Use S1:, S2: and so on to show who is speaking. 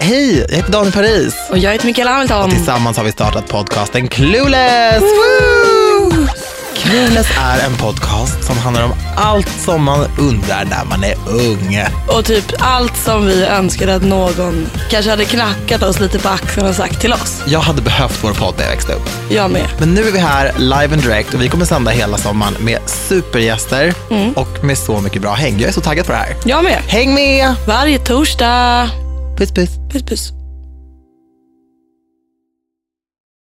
S1: Hej, jag heter Daniel Paris.
S2: Och jag heter Mikaela Hamilton.
S1: Tillsammans har vi startat podcasten Clueless. Woo! Clueless är en podcast som handlar om allt som man undrar när man är ung.
S2: Och typ allt som vi önskade att någon kanske hade knackat oss lite på axeln och sagt till oss.
S1: Jag hade behövt vår podd när jag växte upp.
S2: Jag med.
S1: Men nu är vi här live and direct och vi kommer sända hela sommaren med supergäster och med så mycket bra häng. Jag är så taggad för det här.
S2: Jag med.
S1: Häng med!
S2: Varje torsdag.
S1: Puss puss!
S2: Puss puss.